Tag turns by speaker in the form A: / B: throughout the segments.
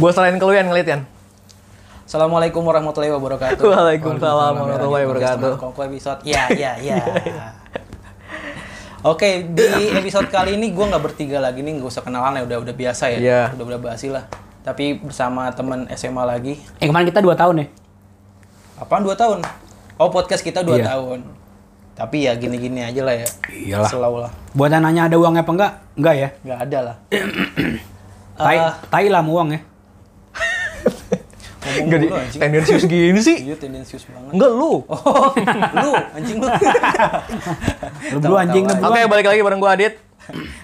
A: Gue selain ke lu yang ngeliat kan.
B: Assalamualaikum warahmatullahi wabarakatuh.
A: Waalaikumsalam warahmatullahi wabarakatuh.
B: Kongko episode. Ya, ya, ya. Oke, di episode kali ini gue nggak bertiga lagi nih, nggak usah kenalan ya, udah udah biasa ya,
A: Iya.
B: udah udah basi lah. Tapi bersama teman SMA lagi,
C: Eh kemarin kita 2 tahun ya?
B: apaan dua tahun? Oh podcast kita dua
C: Iya.
B: tahun. Tapi ya gini-gini aja lah ya.
C: Iyalah.
B: Selalu lah,
C: Buat yang nanya ada uangnya apa enggak? Enggak ya?
B: nggak ada lah.
C: Tai,
B: Eh,
C: tai lah sama uang ya?
B: ngomong
A: Enggak di Eh.
B: mulu, anjing.
A: tendensius gini sih.
B: Iya tendensius banget.
A: Enggak lu.
B: Oh, lu anjing lu.
C: Lu dulu anjing, lu
B: Tawa-tawa
C: dulu.
A: Oke, balik lagi bareng gue Adit.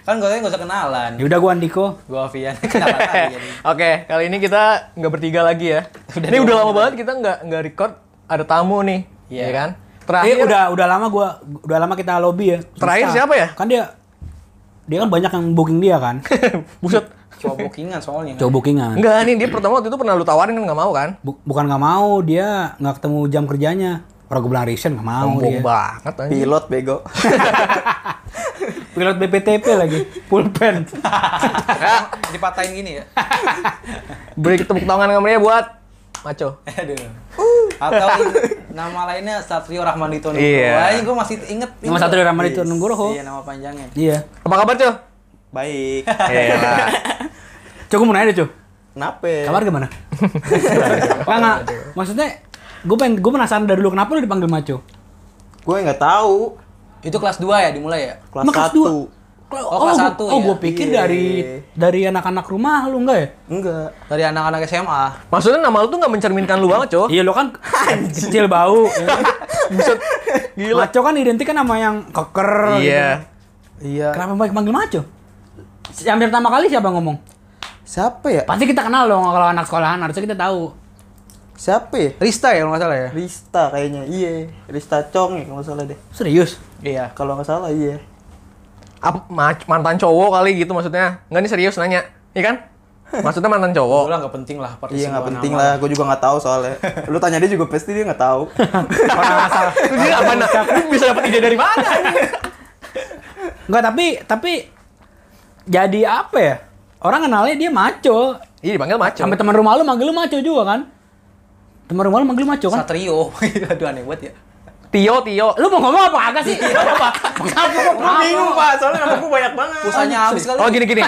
B: Kan gue gak usah kenalan.
C: Ya udah gua Andiko.
B: Gue Alfian. ya? Kenalan lagi jadi.
A: Oke, kali ini kita nggak bertiga lagi ya.
B: Udah
A: ini
B: dua
A: udah lama banget kita nggak nggak record. Ada tamu nih,
B: Iya.
A: ya kan?
C: Eh
A: Terakhir
C: udah udah lama gua udah lama kita lobby ya. Susah.
A: Terakhir siapa ya?
C: Kan dia dia kan banyak yang booking dia kan.
A: buset.
B: Coba bookingan soalnya.
C: Coba bookingan.
A: Enggak nih, dia pertama waktu itu pernah lu tawarin kan nggak mau kan?
C: Bu- bukan nggak mau, dia nggak ketemu jam kerjanya. Orang gue bilang Risen nggak mau
A: Sombong
C: dia.
A: banget anjing.
B: Pilot bego.
C: Pilot BPTP lagi, pulpen.
B: Dipatahin gini ya.
A: Beri tepuk tangan sama dia buat Maco.
B: Aduh. Atau nama lainnya Satrio Rahmanito Nugroho.
A: Iya.
B: Wah, ini gue masih inget.
C: Nama Satrio Rahmanito
B: Yes.
C: Nugroho.
B: Iya, nama panjangnya.
C: iya.
A: Apa kabar, Cok?
D: Baik.
A: Iya.
C: Cuk, gua mau nanya deh, Cuk.
D: Kenapa?
C: Kabar gimana? Nggak, nggak. Maksudnya, gue pengen, gue penasaran dari dulu kenapa lu dipanggil Maco?
D: Gue nggak tahu.
B: Itu kelas 2 ya dimulai ya?
D: Kelas
C: Emang kelas dua?
D: 1.
C: Kela-
B: Oh, kelas
C: gua-
B: satu
C: Oh,
B: ya?
C: gue pikir
D: Iya.
C: dari dari anak-anak rumah lu enggak ya?
D: Enggak.
B: Dari anak-anak SMA.
A: Maksudnya nama lu tuh nggak mencerminkan lu banget, Cok.
C: Iya, lo kan kecil bau. ya kan?
A: Oh. Buset. Gila.
C: Maco kan identik kan sama yang keker. gitu.
A: Iya.
D: Iya.
C: Kenapa baik panggil Maco? Yang pertama kali siapa ngomong?
D: Siapa ya?
C: Pasti kita kenal dong kalau anak sekolahan harusnya kita tahu.
D: Siapa ya?
B: Rista ya kalau nggak salah ya?
D: Rista kayaknya. Iya. Rista Cong ya kalau nggak salah deh.
C: Serius?
B: Iya.
D: Kalau nggak salah iya.
A: Ap- ma- mantan cowok kali gitu maksudnya. Enggak nih serius nanya. Iya kan? Maksudnya mantan
B: Gue
A: cowok.
B: lah nggak penting lah. partisi
D: Iya nggak
B: gua
D: penting
B: nama.
D: lah. Gue juga nggak tahu soalnya. Lu tanya dia juga pasti dia nggak tahu.
C: Kalau asal.
A: Lu dia apa nah? Lu bisa dapat ide dari mana?
C: Enggak, tapi tapi jadi apa ya? Orang kenalnya dia Maco.
A: Iya dipanggil maco.
C: Sampai teman rumah lu manggil lu Maco juga kan? Teman rumah lu manggil lu Maco kan?
B: Satrio. Aduh aneh banget ya.
A: Tio Tio.
C: Lu mau ngomong apa agak sih? Lu apa? Kenapa? Kenapa?
D: pak. Soalnya nama gue banyak banget.
B: Pusanya habis kali. ya?
A: Oh gini gini.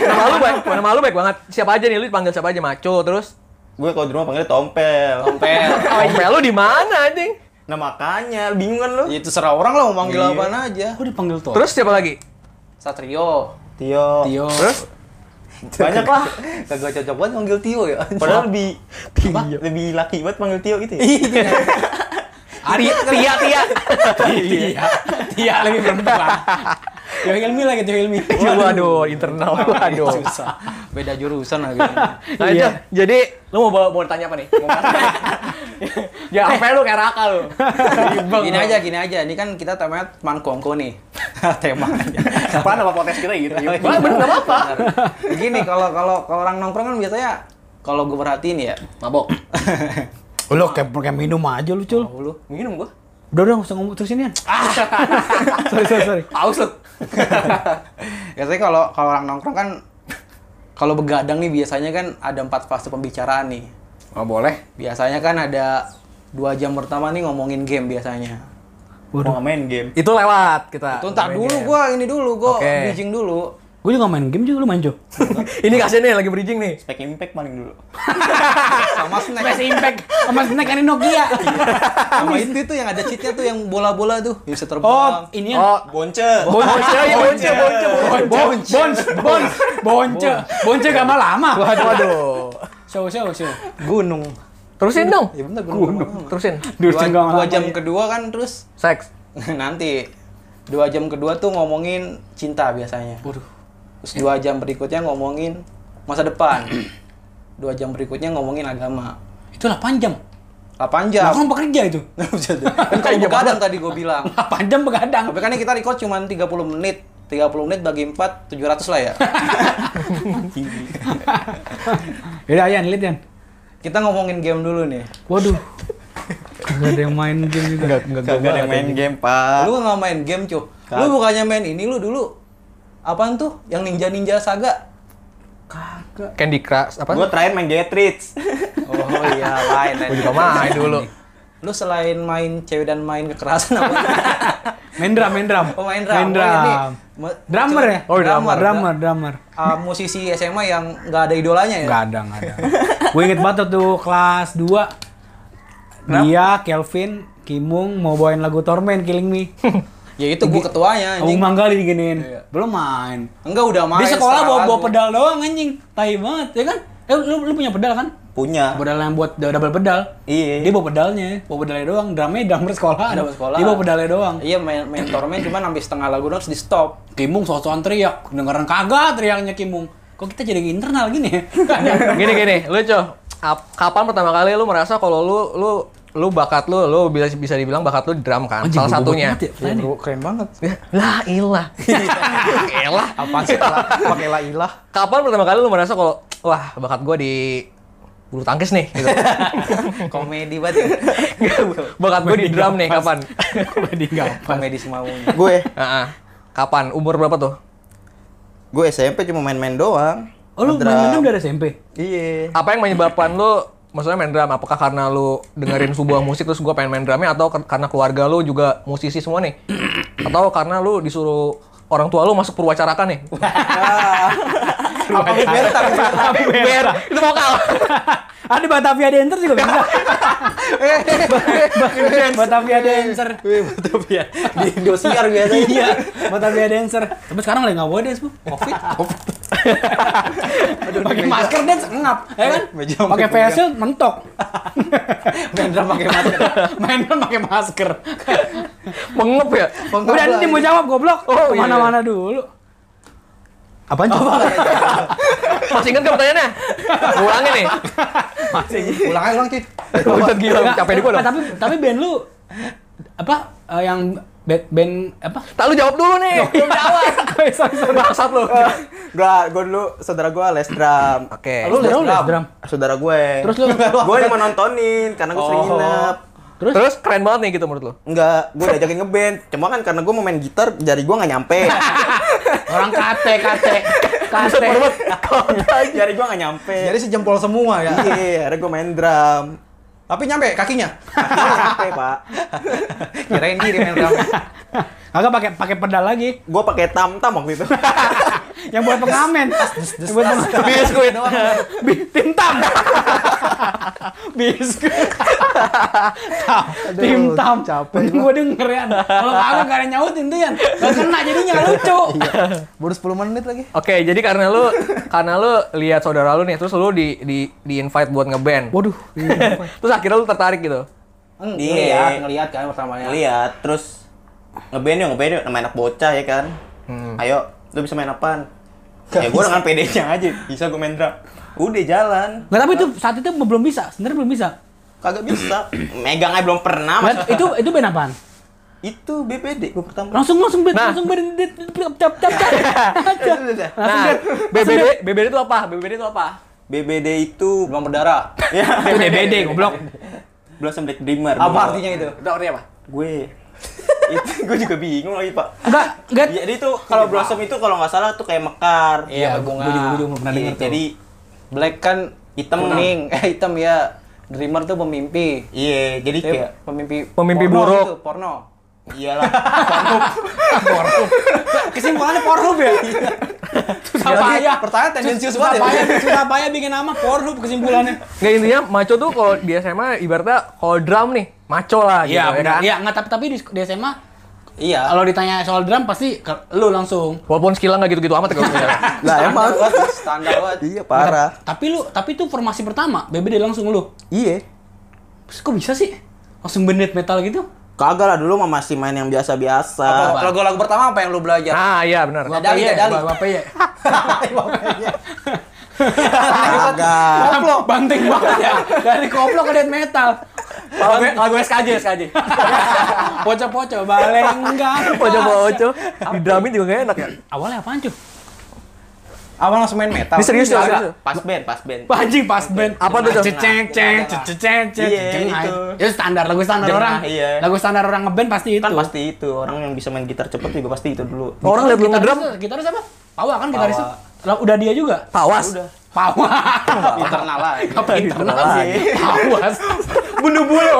A: Nama lu baik, nama lu baik banget. Siapa aja nih lu dipanggil siapa aja maco terus.
D: Gue kalau di rumah panggilnya Tompel.
B: Tompel.
A: Tompel lu di mana anjing?
D: Nah makanya. Lu Bingung kan lu?
B: Ya, Itu serah orang lah mau manggil
D: Iya.
B: apaan aja.
C: Aku dipanggil tuh.
A: Terus siapa lagi?
B: Satrio.
D: Tio.
C: Tio.
A: Terus
D: Banyak lah.
B: Kagak cocok banget manggil Tio ya.
D: Padahal lebih apa? lebih laki banget panggil Tio gitu ya.
C: Ari, Tia, Tia. Tia. Tia Iya. lagi perempuan. Tio Hilmi lagi, Tio Hilmi.
A: waduh internal waduh.
B: Susah. Beda jurusan lagi.
A: Nah,
C: Iya.
A: Cok, jadi lu mau bawa- mau tanya apa nih? Mau bahas- ya apa lu kayak raka lu.
B: gini aja, gini aja. Ini kan kita temanya teman kongko nih. Temanya.
D: Apaan nama podcast kita gitu. Yuk.
A: Wah, bener enggak apa-apa.
B: Gini kalau kalau kalau orang nongkrong kan biasanya kalau gue perhatiin ya, mabok.
C: Lu kayak kayak minum aja lu, Cul.
B: Mau lu minum gua.
C: Udah, udah, usah ngomong terus ini. Sorry, sorry, sorry.
B: Aus lu. biasanya kalau kalau orang nongkrong kan kalau begadang nih biasanya kan ada empat fase pembicaraan nih.
A: Oh, boleh.
B: Biasanya kan ada dua jam pertama nih ngomongin game biasanya.
D: Mau
C: Waduh.
D: nggak main game.
A: Itu lewat kita.
B: Itu ntar dulu gua ini dulu gua
A: Oke.
B: bridging dulu.
C: Gue juga main game juga, lu main, Cul.
A: Ini kasihan nih lagi bridging nih.
D: Spek Impact paling dulu.
B: Sama snack.
C: Smash Impact. Sama Snack ini Nokia.
B: Sama itu tuh yang ada cheatnya tuh yang bola-bola tuh yang bisa terbang.
C: Oh, ini ya.
A: Oh,
D: Bonce.
A: bonce, ya
C: Iya.
A: bonce, bonce, bonce.
C: Bonce, bonce, bonce, bonce, bonce gak lama.
A: Waduh, waduh.
C: Show, show, show.
D: Gunung.
A: Terusin dong.
B: Ya
C: Iya.
B: bentar gua ngomong apa.
A: Terusin.
B: Dua,
C: Durceng gak
B: dua
C: lama.
B: jam kedua kan terus
A: Seks.
B: nanti dua jam kedua tuh ngomongin cinta biasanya.
C: Waduh.
B: Terus dua jam berikutnya ngomongin masa depan. dua jam berikutnya ngomongin agama.
C: Itu 8 jam.
B: 8
C: Lah,
B: jam.
C: kan bekerja itu.
B: kan kalau begadang tadi gua bilang.
C: 8 jam begadang.
B: Tapi kan ini kita record cuma 30 menit. 30 menit bagi 4, 700 lah ya.
C: Yaudah, Yan, lihat Yan.
B: Kita ngomongin game dulu nih.
C: Waduh. Gak ada yang main game juga.
D: Kagak ada yang main game, Pak.
B: Lu nggak main game, cuy. Lu
D: Kagak.
B: bukannya main ini lu dulu. Apaan tuh? Yang Ninja Ninja Saga.
C: Kagak.
A: Candy Crush apa?
D: Gue terakhir main Getrich.
B: Oh iya, lain. lain.
A: Gue juga main dulu.
B: Lu selain main cewek dan main kekerasan apa?
C: Main drum, main drum.
B: Oh, main drum.
C: Main
B: Oh,
C: drum.
B: ini me-
C: Drummer ya?
A: Oh, drummer.
C: Drummer, drummer.
B: Ah, musisi SMA yang nggak ada idolanya ya?
C: Nggak ada, nggak ada. Gue inget banget tuh kelas 2. Dia, Kelvin, Kimung mau bawain lagu Torment, Killing Me.
B: Ya itu gua ketuanya
C: Agung
B: anjing.
C: Manggali diginiin. Belum main.
B: Enggak udah main.
C: Di sekolah
B: setengah
C: bawa bawa
B: lagu.
C: pedal doang anjing. Tai banget, ya kan? Eh, lu, lu punya pedal kan?
D: Punya.
C: Pedal yang buat double pedal.
D: Iya.
C: Dia bawa pedalnya, bawa pedalnya doang. Drumnya drummer sekolah.
B: Drummer sekolah.
C: Dia bawa pedalnya doang.
B: Iya main main tormen cuman sampai setengah lagu doang terus di stop.
C: Kimung sosokan teriak, dengeran kagak teriaknya Kimung. Kok kita jadi internal gini ya?
A: gini gini lu Cok, ap- kapan pertama kali lu merasa kalau lu lu lu bakat lu lu bisa bisa dibilang bakat lu di drum kan
C: Anjing,
A: salah
C: gua
A: satunya
C: bobot banget ya,
B: Nah, Iya,
C: pertanyaan ini.
B: keren banget.
A: Ya, lah ilah elah
D: Apaan sih? La- Pakai la ilah.
A: kapan pertama kali lu merasa kalau wah bakat gua di bulu tangkis nih gitu.
B: Komedi banget. ya.
A: bakat gua di drum nih kapan
C: Komedi enggak.
B: Komedi semaunya.
D: Gue,
A: Heeh. kapan umur berapa tuh
D: gue SMP cuma main-main doang.
C: Oh lu main drum dari SMP?
D: Iya.
A: apa yang menyebabkan lu maksudnya main drum apakah karena lu dengerin sebuah musik terus gua pengen main drumnya atau ke- karena keluarga lu juga musisi semua nih atau karena lu disuruh orang tua lu masuk perwacaraka nih
D: Apa lu bertak?
A: Ber, itu vokal
C: Ada Batavia Dancer juga bisa. Batavia Dancer.
B: Tapi ya di Indosiar biasanya.
C: Iya, Batavia Dancer. Tapi sekarang lagi nggak boleh dance, Bu. Covid. Pakai masker dance ngap, ya kan?
D: Meja
C: Pakai
D: megang.
C: face shield mentok.
B: Main drum pakai masker.
C: Main drum pakai masker. iya.
A: mengep ya
C: Udah nanti mau jawab goblok.
A: Oh, iya.
C: mana-mana dulu. Apaan coba?
A: masih ingat gak pertanyaannya Gua ulangin nih
B: Ulang aja ulang, Cid.
A: Buset gila
C: Nggak,
A: capek di gua
C: eh,
A: dong
C: Tapi tapi band lu apa eh, yang band, band apa?
A: tak lu jawab dulu nih belum jawab
C: sorry, sorry.
A: bangsat lu
D: Gue, gue dulu saudara gue les drum.
A: oke
C: Oh, Lu les drum?
D: Saudara gue.
C: Terus lu-
D: gue cuma nontonin karena gue sering
A: Oh.
D: nginep.
A: terus terus keren banget nih gitu menurut lu
D: Enggak, gue diajakin ngeband. Cuma kan karena gue mau main gitar, jari gue nggak nyampe.
C: Orang kate kate
A: Buset,
C: kate.
A: parah banget.
D: jari gue nggak nyampe.
B: Jadi sejempol semua ya.
D: Iya, akhirnya gue main drum.
B: Tapi nyampe kakinya.
D: Nggak nyampe, Pak.
B: Eh, Kirain diri main drum.
C: Agak pakai pakai pedal lagi
D: Gue pakai tam-tam waktu itu.
C: yang buat pengamen. Yang buat pengamen.
A: biskuit doang
C: Bi- Tim tam. Biskuit. Tam. Tim tam. Capek. Gue denger ya. Kalau kagak gak ada nyautin tuh ya. Gak kena jadinya gak lucu.
B: Baru 10 menit lagi.
A: Oke, jadi karena lu karena lu lihat saudara lu nih, terus lu di di di invite buat ngeband.
C: Waduh.
A: Terus akhirnya lu tertarik gitu.
B: Ngeliat, ngeliat kan pertamanya.
D: Lihat, terus ngeband yuk, ngeband yuk. Nama anak bocah ya kan. Ayo, lu bisa main apaan? ya gue dengan PD-nya aja, bisa gue main drum. Udah jalan,
C: Nggak, tapi itu saat itu belum bisa. Sebenarnya belum bisa.
D: kagak bisa. Megang aja belum pernah. Mas.
C: Lihat, itu itu band apaan?
D: Itu BPD gue pertama.
C: Langsung langsung band,
A: Nah.
C: langsung band, dit- dit- cap cap cap.
A: Nah,
C: Langsung band.
A: BBD BBD itu apa? BBD itu apa?
D: BBD itu
B: Belum berdarah.
D: ya
C: Itu DBD goblok.
D: Blossom Black Dreamer.
B: Apa
D: dulu.
B: artinya itu?
A: Itu artinya apa?
D: Gue itu gue juga bingung lagi pak.
C: Enggak, enggak.
D: Jadi itu kalau Blossom itu kalau nggak salah tuh kayak mekar.
B: Iya, bunga.
C: Gue juga, gua juga belum pernah
D: Iya,
C: denger tuh.
D: Jadi
B: Black kan
D: Hitam.
B: kuning, eh hitam ya. Dreamer tuh pemimpi.
D: iya jadi
B: Dia
D: kayak
B: pemimpi
A: Pemimpi
B: porno
A: buruk.
B: gitu, porno.
D: iyalah.
C: Kesimpulannya Pornhub
B: Iya.
C: ya? Susah
B: Jadi,
C: payah.
B: Iya, pertanyaan tendensius banget
C: Susah
B: ya.
C: payah, susah payah bikin nama Pornhub kesimpulannya.
A: Nggak intinya maco tuh kalau di SMA ibaratnya kalau drum nih, maco lah gitu
C: Iya,
A: ya
C: benar.
A: kan.
C: Iya, enggak tapi tapi di, di SMA
B: Iya.
C: kalau ditanya soal drum pasti ke, lu langsung.
A: Walaupun skillnya nggak gitu-gitu amat ya kalau misalnya.
D: Lah
B: Standar
D: emang.
B: banget, standar banget.
D: Iya parah.
C: Tapi lu tapi itu formasi pertama, BBD langsung lu.
D: Iya.
C: Terus kok bisa sih? Langsung band death metal gitu?
D: Kagak lah dulu mah masih main yang biasa-biasa.
B: Apa lagu-lagu pertama apa yang lu belajar?
A: Nah, iya benar.
B: Dadali,
C: Bapak ya,
B: dadali.
C: Bapak ya.
D: Kagak.
C: Koplo, banting banget ya. Dari koplo ke death metal.
A: Lagu SKJ, SKJ.
C: Poco-poco, balenggang.
A: Poco-poco. Di drumin juga nggak enak ya.
C: Awalnya apaan cuy?
B: Awal langsung main metal.
A: Ini serius ya? serius ya?
D: Kagak. Pas band, pas band.
C: Anjing pas band.
A: Apa tuh, Cok?
C: Ceceng ceng ceceng ceng ceng.
D: Iya,
C: ceceng,
D: itu.
C: ay. Itu Ya, standar lagu standar
D: Jengah,
C: orang.
D: iya.
C: Lagu standar orang ngeband pasti itu.
D: Kan pasti itu orang yang bisa main gitar cepet juga pasti itu dulu.
A: Orang lihat lu ngedrum,
C: Gitaris- Gitaris apa? Pawa kan gitaris. tuh? Lah, udah dia juga.
A: Tawas. Gitu
C: Pawas.
B: internal lah
C: Apa internal sih? Pawas.
D: Bunuh bulu.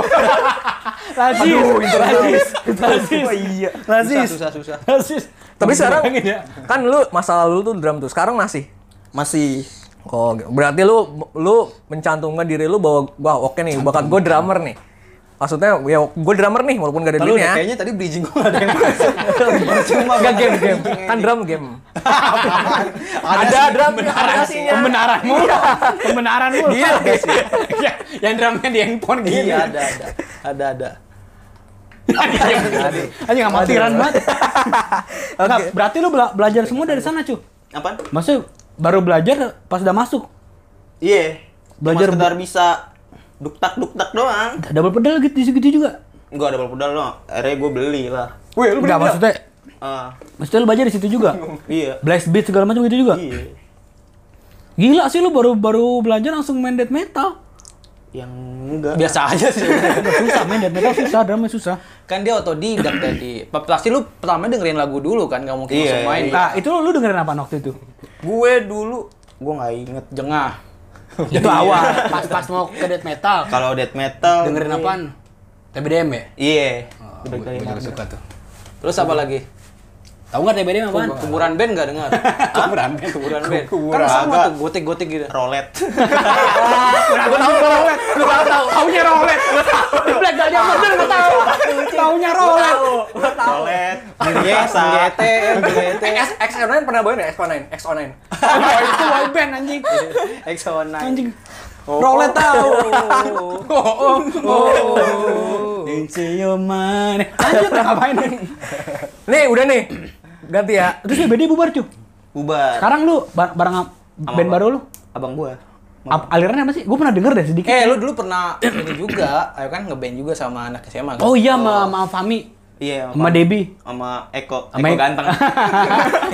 C: Lazis. Lazis. Lazis.
D: Oh iya.
B: susah
C: Lazis.
B: susah susah
C: Lazis.
A: Tapi sekarang
C: Bayangin ya.
A: kan lu masa lalu tuh drum tuh. Sekarang masih.
D: Masih
A: Oh, berarti lu lu mencantumkan diri lu bahwa wah oke nih, bakat gue drummer nih. Maksudnya ya gue drummer nih walaupun gak ada
B: Lalu
A: duitnya.
B: kayaknya tadi bridging gue ada yang masuk. Percuma
A: Gak
B: banget
A: game game.
B: bridging
A: Kan
B: ini.
A: drum game.
B: Ada
A: Ada drum ada
C: Pembenaran.
A: sinyal.
C: Pembenaranmu. Pembenaranmu. Iya. Yang drumnya di handphone
B: sih.
C: gini.
B: Iya ada ada. Ada ada. Ada.
C: Anjing amatiran banget. Nah, berarti lu bela- belajar semua dari sana, Cu.
D: apa?
C: Maksudnya baru belajar pas udah masuk.
D: Iya.
C: Belajar
D: Belajar sekedar bisa duktak duktak doang.
C: Double pedal gitu gitu juga.
D: Enggak ada pedal doang. Akhirnya gue beli lah.
C: Wih, lu Enggak, maksudnya
D: Ah,
C: maksudnya lu belajar di situ juga.
D: iya.
C: Blast beat segala macam gitu juga.
D: Iya.
C: Gila sih lu baru baru belajar langsung main death metal.
D: Yang enggak.
B: Biasa aja sih.
C: susah main death metal susah, drama susah.
B: kan dia otodidak tadi. Pasti lu pertama dengerin lagu dulu kan nggak mungkin
D: Iya,
B: langsung main.
C: Nah, itu lu, lu dengerin apa waktu itu?
D: Gue dulu gue nggak inget.
B: Jengah.
C: itu awal pas pas mau ke death metal.
D: Kalau death metal.
C: Dengerin
D: gue-
C: apaan? TBDM ya?
D: Iya.
C: Gue juga suka tuh.
B: Terus apa lagi?
C: Tahu nggak TBDM apaan?
B: Kuburan band nggak dengar?
C: Kuburan.
B: Kuburan band.
D: Kuburan.
B: Kan sama
D: Agak.
B: tuh gotik-gotik gitu.
D: Rolet.
C: Gue tahu rolet. Gue tahu tahu. Taunya rolet. Di Black Dahlia Murder gue tahu. Taunya rolet.
D: Rolet.
B: Yes,
D: Biasa.
B: Gete, Gete,
A: Eh, X X09 pernah bawain ya? X09, X09.
C: Wah, itu boy band anjing.
B: Exona.
C: Nah, Anjing.
B: Rolet tahu.
C: Oh, oh, oh. Ciuman. Lanjut nah, ngapain nih?
A: Nih, udah nih. Ganti ya.
C: Terus BD bubar cuy.
D: Bubar.
C: Sekarang lu ba- bareng am- band
D: apa?
C: baru lu?
D: Abang gue.
C: Ap- alirannya apa sih? Gue pernah denger deh sedikit.
B: Eh, lu dulu pernah ini juga, ayo kan ngeband juga sama anak SMA kan?
C: Oh iya, sama sama Fami.
D: Iya.
C: Sama Debi.
D: Sama Eko.
C: Sama
D: Eko
C: Eko.
D: ganteng.
B: Eh,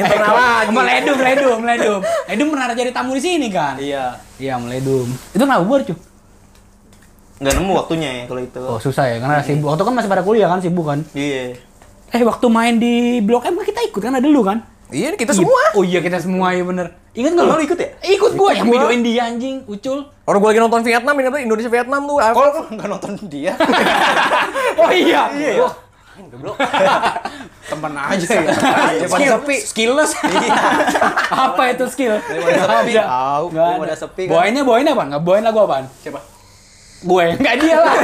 A: Internal lagi.
C: Sama Ledum, Ledum, Ledum. Ledum pernah jadi tamu di sini kan?
B: Iya.
C: Iya, sama Ledum. Itu kenapa bubar cuy?
D: Nggak nemu waktunya ya kalau itu.
C: Oh susah ya, karena sibuk. Waktu kan masih pada kuliah kan, sibuk kan.
D: Iya.
C: Eh waktu main di Blok M kan kita ikut kan, ada lu kan?
A: Iya, ini kita semua.
C: Oh iya kita semua ya bener. Ingat nggak lu?
D: Lu ikut ya?
C: Ikut gua yang
A: gua.
C: videoin dia anjing, ucul.
A: Orang gue lagi nonton Vietnam, ini katanya Indonesia Vietnam tuh.
B: Kalau lu nggak nonton dia,
C: Oh iya. Iya.
B: temen aja ya. Daripada
C: Skill,
B: sepi. Iya.
C: skillless. apa itu skill?
B: Daripada
C: Nggak
B: sepi.
C: ada.
B: Tahu,
C: Nggak
B: daripada
C: ada.
B: sepi kan.
C: Bawainnya bawain apa? Enggak bawain lagu apaan?
B: Siapa?
C: Gue. Enggak dia lah.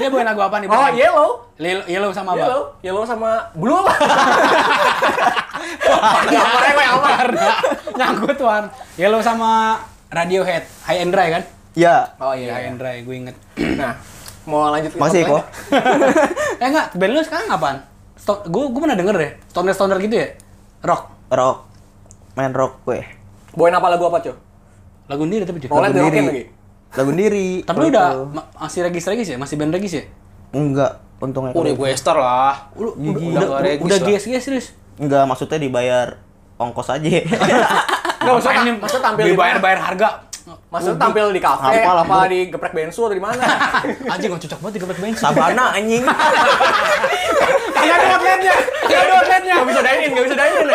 C: Dia bawain lagu apaan nih?
A: Oh, yellow.
C: Lil Yellow sama
A: Yellow,
C: apa?
A: yellow sama blue apa?
C: Warna. Nyangkut warna. Yellow sama Radiohead, High and Dry kan?
D: Iya.
C: Oh iya, High and Dry, gue inget.
A: Nah, mau lanjut ke
D: Masih
A: topik
D: Eko.
A: lain nggak?
C: eh enggak, band lu sekarang apaan? Sto- gue gue pernah denger deh, stoner stoner gitu ya, rock.
D: Rock. Main rock gue.
A: Bawain apa lagu apa, Cok?
C: Lagu sendiri tapi cuy.
A: Rock. Rolet
D: Lagu Ah,
A: dirokin
D: diri.
A: lagi?
D: Lagu diri.
C: Tapi lu udah ma- masih regis regis ya, masih band regis ya.
D: Enggak, untungnya.
B: Udah gue ester lah.
C: Lu udah
D: Iya, iya.
C: udah
B: Udah nggak regis
C: udah
B: lah.
C: GS GS serius.
D: Enggak, maksudnya dibayar ongkos aja.
C: Enggak usah ini
A: masa tampil di
C: bayar
A: mana?
C: bayar harga.
A: Maksudnya tampil di kafe,
D: Apa lah,
A: apa
D: Bu?
A: di geprek bensu atau di mana?
C: Anjing gak cocok banget di tempat bensin.
D: Sabana anjing.
C: Kagak ada outletnya. Kagak ada outletnya.
A: Gak bisa dine-in, gak bisa dine-in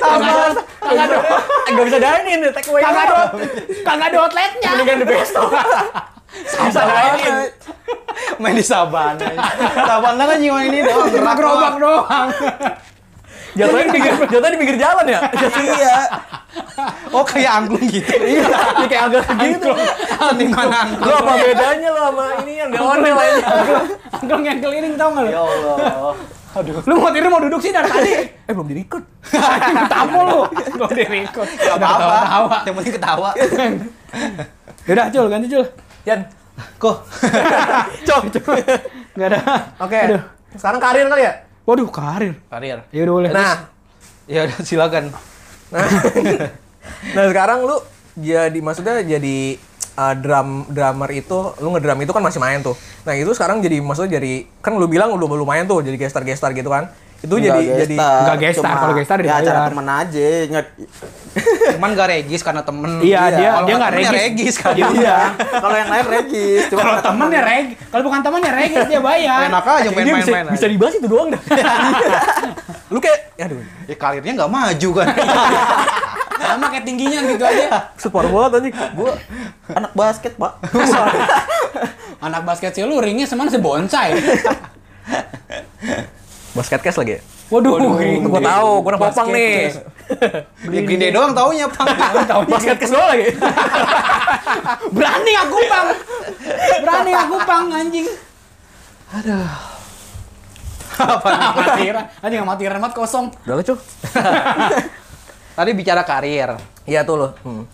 C: Kagak ada- kagak ada
A: Gak bisa dine-in, take away
C: kagak ada kagak ada outletnya.
A: Mendingan di besto Bisa dine-in
B: Main di Sabana. Sabana kan cuma ini doang.
C: Cuma
B: gerak
C: gerobak
B: doang.
C: doang.
A: Jatuhnya di pinggir, jatuhnya di pinggir jalan ya?
D: Iya.
B: Oh kayak angklung gitu.
A: Iya, ya kayak agak gitu
B: Seniman angklung.
A: Lo apa bedanya lo sama ini yang gak onel aja
C: Angklung yang keliling tau gak lu?
B: Ya Allah.
C: Lu mau tidur mau duduk sih dari tadi.
A: Eh belum di-record
C: Tamu lu. Lu direkod.
B: Gak
C: Tawa-tawa.
B: apa-apa. Yang penting ketawa.
C: Yaudah, Jul, ganti Jul.
A: Yan,
B: Kok?
A: Cok
C: Gak ada.
A: Oke,
C: Aduh.
A: sekarang karir kali ya?
C: Waduh, karir.
B: Karir.
C: Ya udah boleh.
A: Nah,
B: Ya udah silakan.
A: Nah, nah sekarang lu jadi maksudnya jadi uh, drum drummer itu lu ngedrum itu kan masih main tuh. Nah itu sekarang jadi maksudnya jadi kan lu bilang lu belum main tuh jadi gestar gestar gitu kan. Itu jadi jadi
C: Nggak gestar, kalau gestar
D: ya
C: dibayar.
D: acara temen aja. Nggak-
B: Cuman gak regis karena temen.
C: Iya, dia
B: Kalau
C: dia
B: nggak
C: nggak
B: temen ya
C: regis.
B: regis kan.
C: Iya. Iya.
D: Kalau yang lain regis, cuma
C: Kalau ya- temennya reg, kalau bukan temennya reg, dia bayar.
B: Enak aja
C: Ini
B: main-main
C: bisa-
B: main aja.
C: Bisa dibahas itu doang dah.
A: lu kayak aduh.
B: Ya karirnya nggak maju kan.
C: sama kayak tingginya gitu aja.
A: Super banget anjing.
D: Gue anak basket, Pak.
C: Anak basket sih lu ringnya semana sebonsai.
A: Basket cash lagi. ya?
C: Waduh,
A: Itu gua tahu, gua anak popang nih.
B: Ya Green Day doang taunya, Pang.
C: Tahu
A: Basket cash doang lagi.
C: Berani aku, Pang. Berani aku, Pang, anjing. Aduh. matiran, anjing matiran amat kosong.
A: Udah lah, cuy.
B: Tadi bicara karir.
A: Iya tuh lo. Hmm.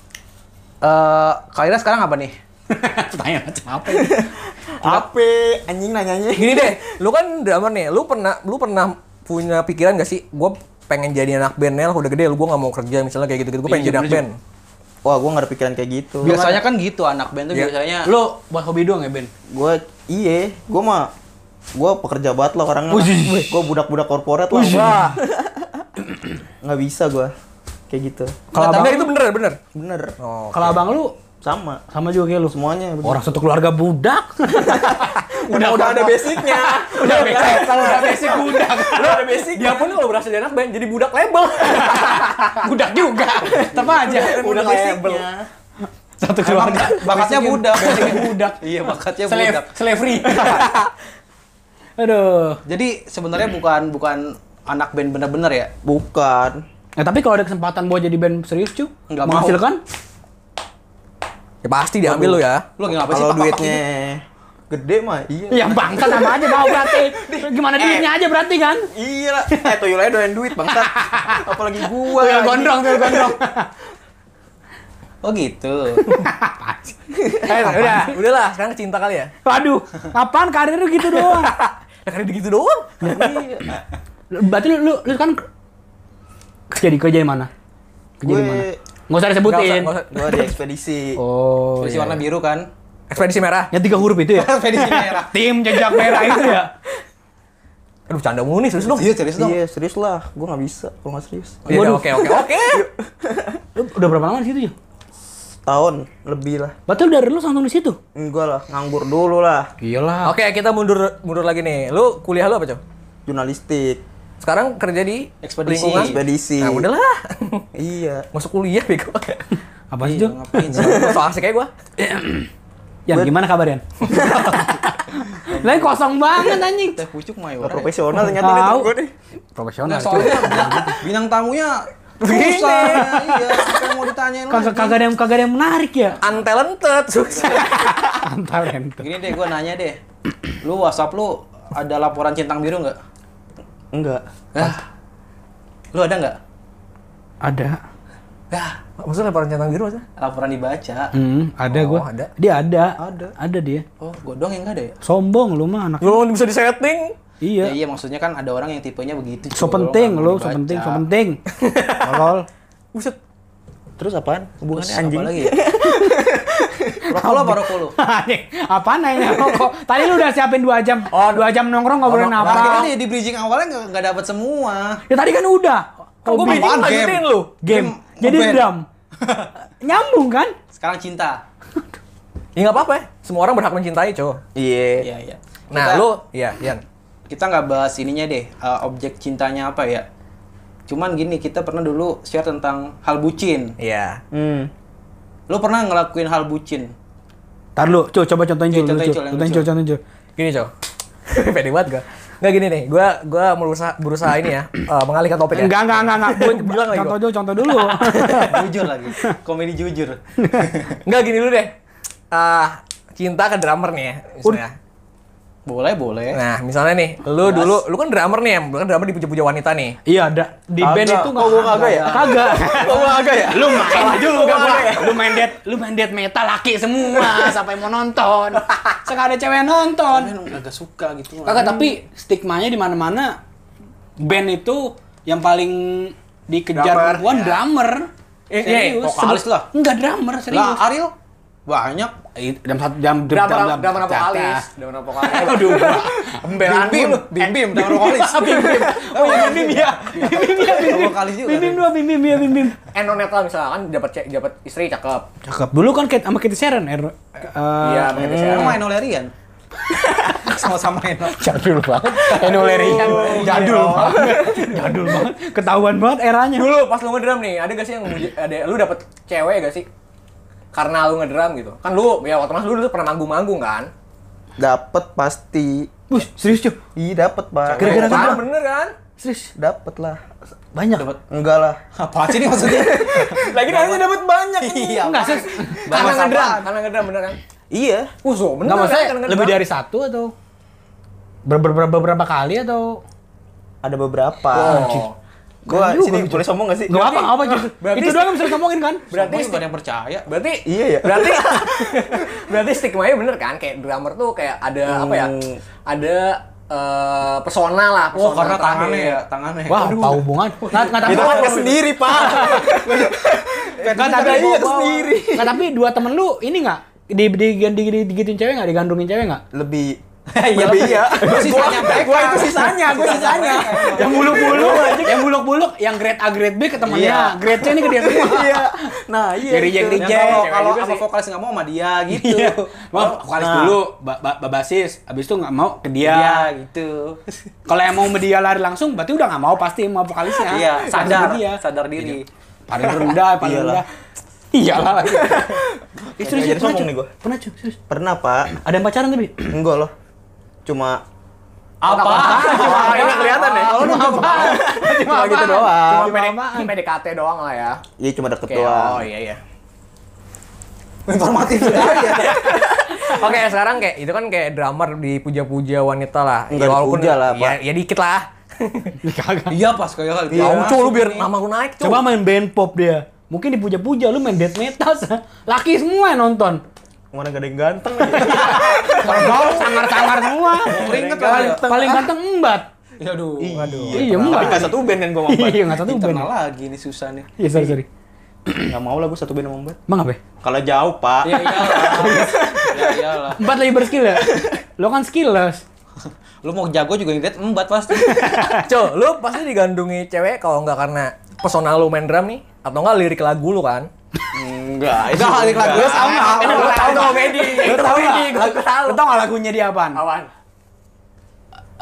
B: Eh, karirnya sekarang apa nih?
C: Tanya macam apa? ini?
D: Apa anjing nanyanya?
A: Gini deh, lu kan drummer nih. Lu pernah lu pernah punya pikiran gak sih gue pengen jadi anak band nih udah gede lu gue nggak mau kerja misalnya kayak gitu gitu gue pengen
C: Iya,
A: jadi anak
C: bener,
A: band
D: Wah, gue nggak ada pikiran kayak gitu.
B: Biasanya kan gitu anak band tuh
A: Iya.
B: biasanya
C: Lu buat hobi doang ya, Ben?
D: gue iye, gue iya, mah gue pekerja banget lah orangnya.
C: Wih.
D: Gue budak-budak korporat lah.
A: wah
D: Nggak bisa gue kayak gitu.
A: kalau enggak itu bener bener
D: Bener.
A: oh
C: Kalau abang lu
D: Sama.
C: sama juga kayak lu.
D: Semuanya. bener.
C: Orang satu keluarga budak.
A: udah udah ada basicnya
C: udah basic, udah basic budak.
A: udah ada basic dia pun kalau berhasil jadi anak band jadi budak label
C: Budak juga. Tetap aja.
A: Udah label.
C: Satu keluarga.
B: bakatnya
C: Basicnya-
B: budak.
C: basicnya budak.
B: Iya, bakatnya
C: Slave-
B: budak.
C: Slavery. Aduh.
B: Jadi sebenarnya bukan bukan anak band bener-bener ya.
D: Bukan.
C: Nah, tapi kalau ada kesempatan buat jadi band serius, cu,
B: Nggak mau.
C: menghasilkan?
A: ya pasti diambil lu ya
B: Lu lagi ngapain sih?
D: Kalau
B: papak-papak
D: duitnya
C: gitu?
D: gede mah iya.
C: Ya bangsat sama aja mau berarti. Gimana duitnya aja berarti kan?
D: Iya lah. Eh tuyul aja doyan duit bangsat. Apalagi gua.
C: Tuyul
D: anjing.
C: gondrong, tuyul gondrong.
B: ini? Oh gitu.
A: eh, udah udah lah sekarang ke cinta kali ya
C: Waduh, apaan karir lu gitu doang?
A: Lah kali gitu doang
C: Berarti lu, lu, lu kan kerja di kerja di mana? Kerja di
D: Gue-
C: mana? Nggak usah
A: Nggak
C: disebutin.
A: usah, nggak usah.
D: Gua di ekspedisi.
C: Oh.
B: Polisi
C: iya.
B: warna biru kan.
A: ekspedisi merah
C: Yang tiga huruf itu ya?
B: Ekspedisi merah.
C: Tim jejak merah itu ya?
A: aduh canda mulu nih serius dong
B: Iya, serius dong.
D: Iya serius lah, gue nggak bisa kalau nggak serius.
A: Iya,
C: Waduh.
A: oke oke oke
C: Lu udah berapa lama di situ, Ju?
D: Tahun lebih lah,
C: Berarti lu dari lu langsung di situ?
D: enggak lah, nganggur dulu lah,
C: Iyalah.
A: oke kita mundur mundur lagi nih lu kuliah lu apa cow
D: jurnalistik,
A: sekarang kerja di
B: Ekspedisi.
A: lingkungan
D: ekspedisi.
A: nah udahlah
D: Iya.
A: masuk kuliah bego
C: Apa sih, Ju?
B: Ngapain sih?
A: so asik kayak gua
C: Yan, gimana kabar, Yan? Lain kosong banget anjing.
B: Teh pucuk mah ya.
D: Gak
B: orang ya.
D: profesional ternyata nih
C: Tahu.
D: temen gue nih.
C: Profesional.
B: Nah, soalnya bintang, bintang tamunya susah. iya, apa yang mau ditanyain
C: kagak
B: lagi?
C: kagak ada yang kagak ada yang menarik ya.
A: untalented susah
C: Antar ente.
B: Gini deh, gue nanya deh. Lu WhatsApp lu ada laporan centang biru nggak?
D: Enggak.
B: Hah? Lu ada nggak?
C: Ada.
B: Hah?
A: maksudnya lemparan centang biru maksudnya
B: Laporan dibaca.
C: Hmm, ada
A: Oh,
C: gua.
A: ada.
C: Dia ada.
B: Ada.
C: Ada dia.
B: Oh, gue doang yang nggak ada ya?
C: Sombong lu mah anak.
A: lu bisa disetting
B: Ya,
C: Iya.
B: iya maksudnya kan ada orang yang tipenya begitu.
C: So
B: cuy.
C: penting
B: Orang
C: lu, so
B: dibaca.
C: penting, so penting. Tolol.
A: buset
D: Terus apaan?
B: Terus
D: Hubungannya
B: apa
D: anjing.
B: lagi? ya? Rokok lu apa rokok lu?
C: Anjing, Apaan nanya rokok? Tadi lu udah siapin 2 jam. Oh, 2 jam nongkrong ngobrolin
B: Nah, kita
C: apa?
B: kan di bridging awalnya nggak nggak dapet semua.
C: Ya tadi kan udah.
A: Kan gua
C: Hobi.
A: bikin
B: Apaan, game?
A: lanjutin lu
C: game.
B: Game,
C: Jadi
B: ngeband.
C: drum. Nyambung kan?
B: Sekarang cinta.
A: ya nggak apa-apa ya. semua orang berhak mencintai cow
D: Iya.
B: Iya, iya.
A: nah
B: Kita-
A: lu iya Yan
B: kita nggak bahas ininya deh eh, objek cintanya apa ya cuman gini kita pernah dulu share tentang hal bucin
A: iya
D: Hmm.
B: lo pernah ngelakuin hal bucin
C: Tar lu, Cuk, coba Iya, contohin
B: Cuy,
C: dulu,
B: contohin,
C: Cuk.
B: Cuk, yang
C: Contohin,
B: lucu.
C: Cuk, contohin, Cuk.
A: gini cow pede banget gua nggak gini nih gua gua berusaha berusaha ini ya eh, mengalihkan topik ya
C: Enggak, enggak, enggak, enggak. Gua-
A: Bilang lagi
C: Contoh
A: gua.
C: dulu, contoh dulu.
B: jujur lagi komedi jujur
A: nggak gini dulu deh ah cinta ke drummer nih ya misalnya
B: boleh boleh
A: nah misalnya nih lu dulu lu kan drummer nih ya lu kan drummer dipuja-puja wanita nih
C: Iya, ada. Di
D: Kagak.
C: band itu enggak.
D: Kok gua kagak ya?
C: Kagak.
D: Kok gua agak ya?
C: Lu main juga gua. Lu main dead, lu main dead metal laki semua sampai mau nonton. Sekarang ada cewek nonton.
B: Cuman agak suka gitu
C: Kagak, tapi stigmanya di mana-mana band itu yang paling dikejar
D: Drummer.
C: perempuan drummer. Iya.
A: Eh, eh,
B: vokalis lah.
C: Enggak drummer,
B: lah
C: serius.
B: Ariel banyak
C: Eh, Dalam satu jam
A: drummer drummer apa kalis drummer apa kalis aduh gua
C: Pembelaan
B: bim
C: dulu.
B: bim bim dan vokalis
C: Bim Bim. Oh iya Bim Bim ya. Bim Bim ya Bim Bim.
B: Vokalis juga
C: Bim Bim
B: tadi.
C: dua Bim Bim ya Bim Bim.
A: Enoneta misalkan dapat cek dapat istri cakep
C: Cakep. Dulu kan Kate- sama Katy Sharon. Er, eh,
A: iya pakai
B: Emang
A: hmm.
B: main oleh Rian sama-sama enak.
C: Jadul banget. Enolerian. Jadul banget. Jadul banget. Ketahuan banget eranya.
A: Dulu pas lu ngedram nih, ada gak sih yang ada lu dapet cewek gak sih? Karena lu ngedram gitu. Kan lu ya waktu mas lu dulu pernah manggung-manggung kan?
D: Dapet pasti.
C: Bus, serius cuy.
D: Iya dapet bang.
C: Gara-gara
A: Kan,
C: ngedrum.
A: bener kan?
C: Serius.
D: Dapet lah.
C: Banyak.
D: Enggak lah.
B: Apa sih ini maksudnya?
A: Lagi nanya dapet banyak.
B: Iya.
C: Enggak, serius.
A: Karena
B: Bahas
A: ngedram,
B: apaan?
A: karena ngedram bener kan?
D: Iya.
A: Uh, so, bener
C: Enggak
A: kan?
C: maksudnya
A: Karena ngedram.
C: lebih dari satu atau ber- ber- ber- beberapa kali atau
D: Ada beberapa.
A: Oh.
D: Gua
C: Keren juga
D: sini
C: gitu.
D: boleh sombong gak sih?
C: Enggak apa apa justru.
A: berarti-
C: Itu doang yang bisa ngomongin kan?
A: Berarti
B: Sombong, nggak ada yang percaya.
A: berarti
D: Iya ya.
A: berarti berarti stigma nya bener kan kayak drummer tuh kayak ada apa ya
D: Hmm.
A: ada eh, pesona lah pesona
B: Oh, karena
A: terakhir.
B: tangannya ya, tangannya.
C: Wah, apa hubungan? Nggak, nggak
D: Itu
C: tahu.
D: kan ke sendiri, Pak.
C: Nggak, tapi
D: Iya, ke
C: Nggak,
D: sendiri.
C: tapi dua temen lu ini nggak di di di, di, digituin cewek nggak digandungin cewek nggak?
D: Lebih
B: Iya,
D: lebih iya.
B: Itu sisanya mereka.
A: gua itu sisanya gua sisanya
C: yang buluk-buluk, yang buluk-buluk, yang grade A grade B ke temennya,
D: Iya.
C: grade C ini ke dia semua.
D: Iya. Nah, iya.
C: Jadi
D: itu.
B: Yang
C: yang reject.
B: kalau
C: Cewek
B: kalau
C: juga
B: sama
C: sih.
B: vokalis nggak mau sama dia gitu.
C: Iya. Wah,
B: Kalau-
C: vokalis
D: Nah.
C: dulu, ba- ba- ba- basis, abis itu nggak mau ke dia.
B: Iya, gitu.
C: Kalau yang mau sama dia lari langsung, berarti udah nggak mau pasti mau vokalisnya.
B: Iya,
C: Langsung
B: sadar,
C: ke dia.
B: sadar diri.
C: Paling rendah, paling
D: Iyalah.
C: rendah. Iyalah. Ih,
D: Kayak
C: Eh, serius,
D: jadi
C: pernah
D: sombong
C: cuy?
D: nih gua.
C: Pernah cuy, serius.
D: Pernah, Pak.
C: Ada yang pacaran tapi?
D: Enggak loh. Cuma
B: Apa?
A: ini nggak kelihatan ya
C: Kalau lu apa? Gitu
D: cuma gitu doang.
A: cuma PD, PDKT doang lah ya
D: Iya, cuma deket
A: Kayak,
D: doang.
A: oh iya iya
B: Informatif sekali ya.
A: Oke sekarang kayak itu kan kayak drummer dipuja-puja wanita lah
D: Enggak dipuja lah,
A: ya, ya dikit lah
B: Iya pas kayak kali.
A: Iya. cu lu biar nama lu naik cu
C: Coba main band pop dia. Mungkin dipuja-puja lu main death metal. Sa. Laki semua yang nonton.
D: Mana gak ada yang ganteng.
C: Kalau sangar-sangar semua.
B: Keringet
C: Paling,
B: lah.
C: paling ganteng embat.
B: Ya Iya. aduh. Aduh.
C: Iya,
D: Tapi
C: embat.
D: gak satu band kan gua mau
C: Iya, enggak satu band.
B: Internal lagi nih susah nih.
C: Iya, sorry, sorry.
D: Gak mau lah gua satu band sama Mbak.
C: Emang apa? ya?
D: Kalau jauh, Pak.
B: Ya iyalah. Ya iyalah.
C: Empat lagi berskill ya? Lo kan skillless.
B: Lu mau jago juga ngeliat embat pasti.
A: cu lu pasti digandungi cewek kalau nggak karena pesona lu main drum nih atau nggak lirik lagu lu kan
D: Enggak, itu
B: Udah balik lagi
D: enggak.
B: sama.
A: Ini gue tahu komedi. Gue tahu ini, gue tahu.
C: Lo tau gak lagunya dia apaan?
A: Awan.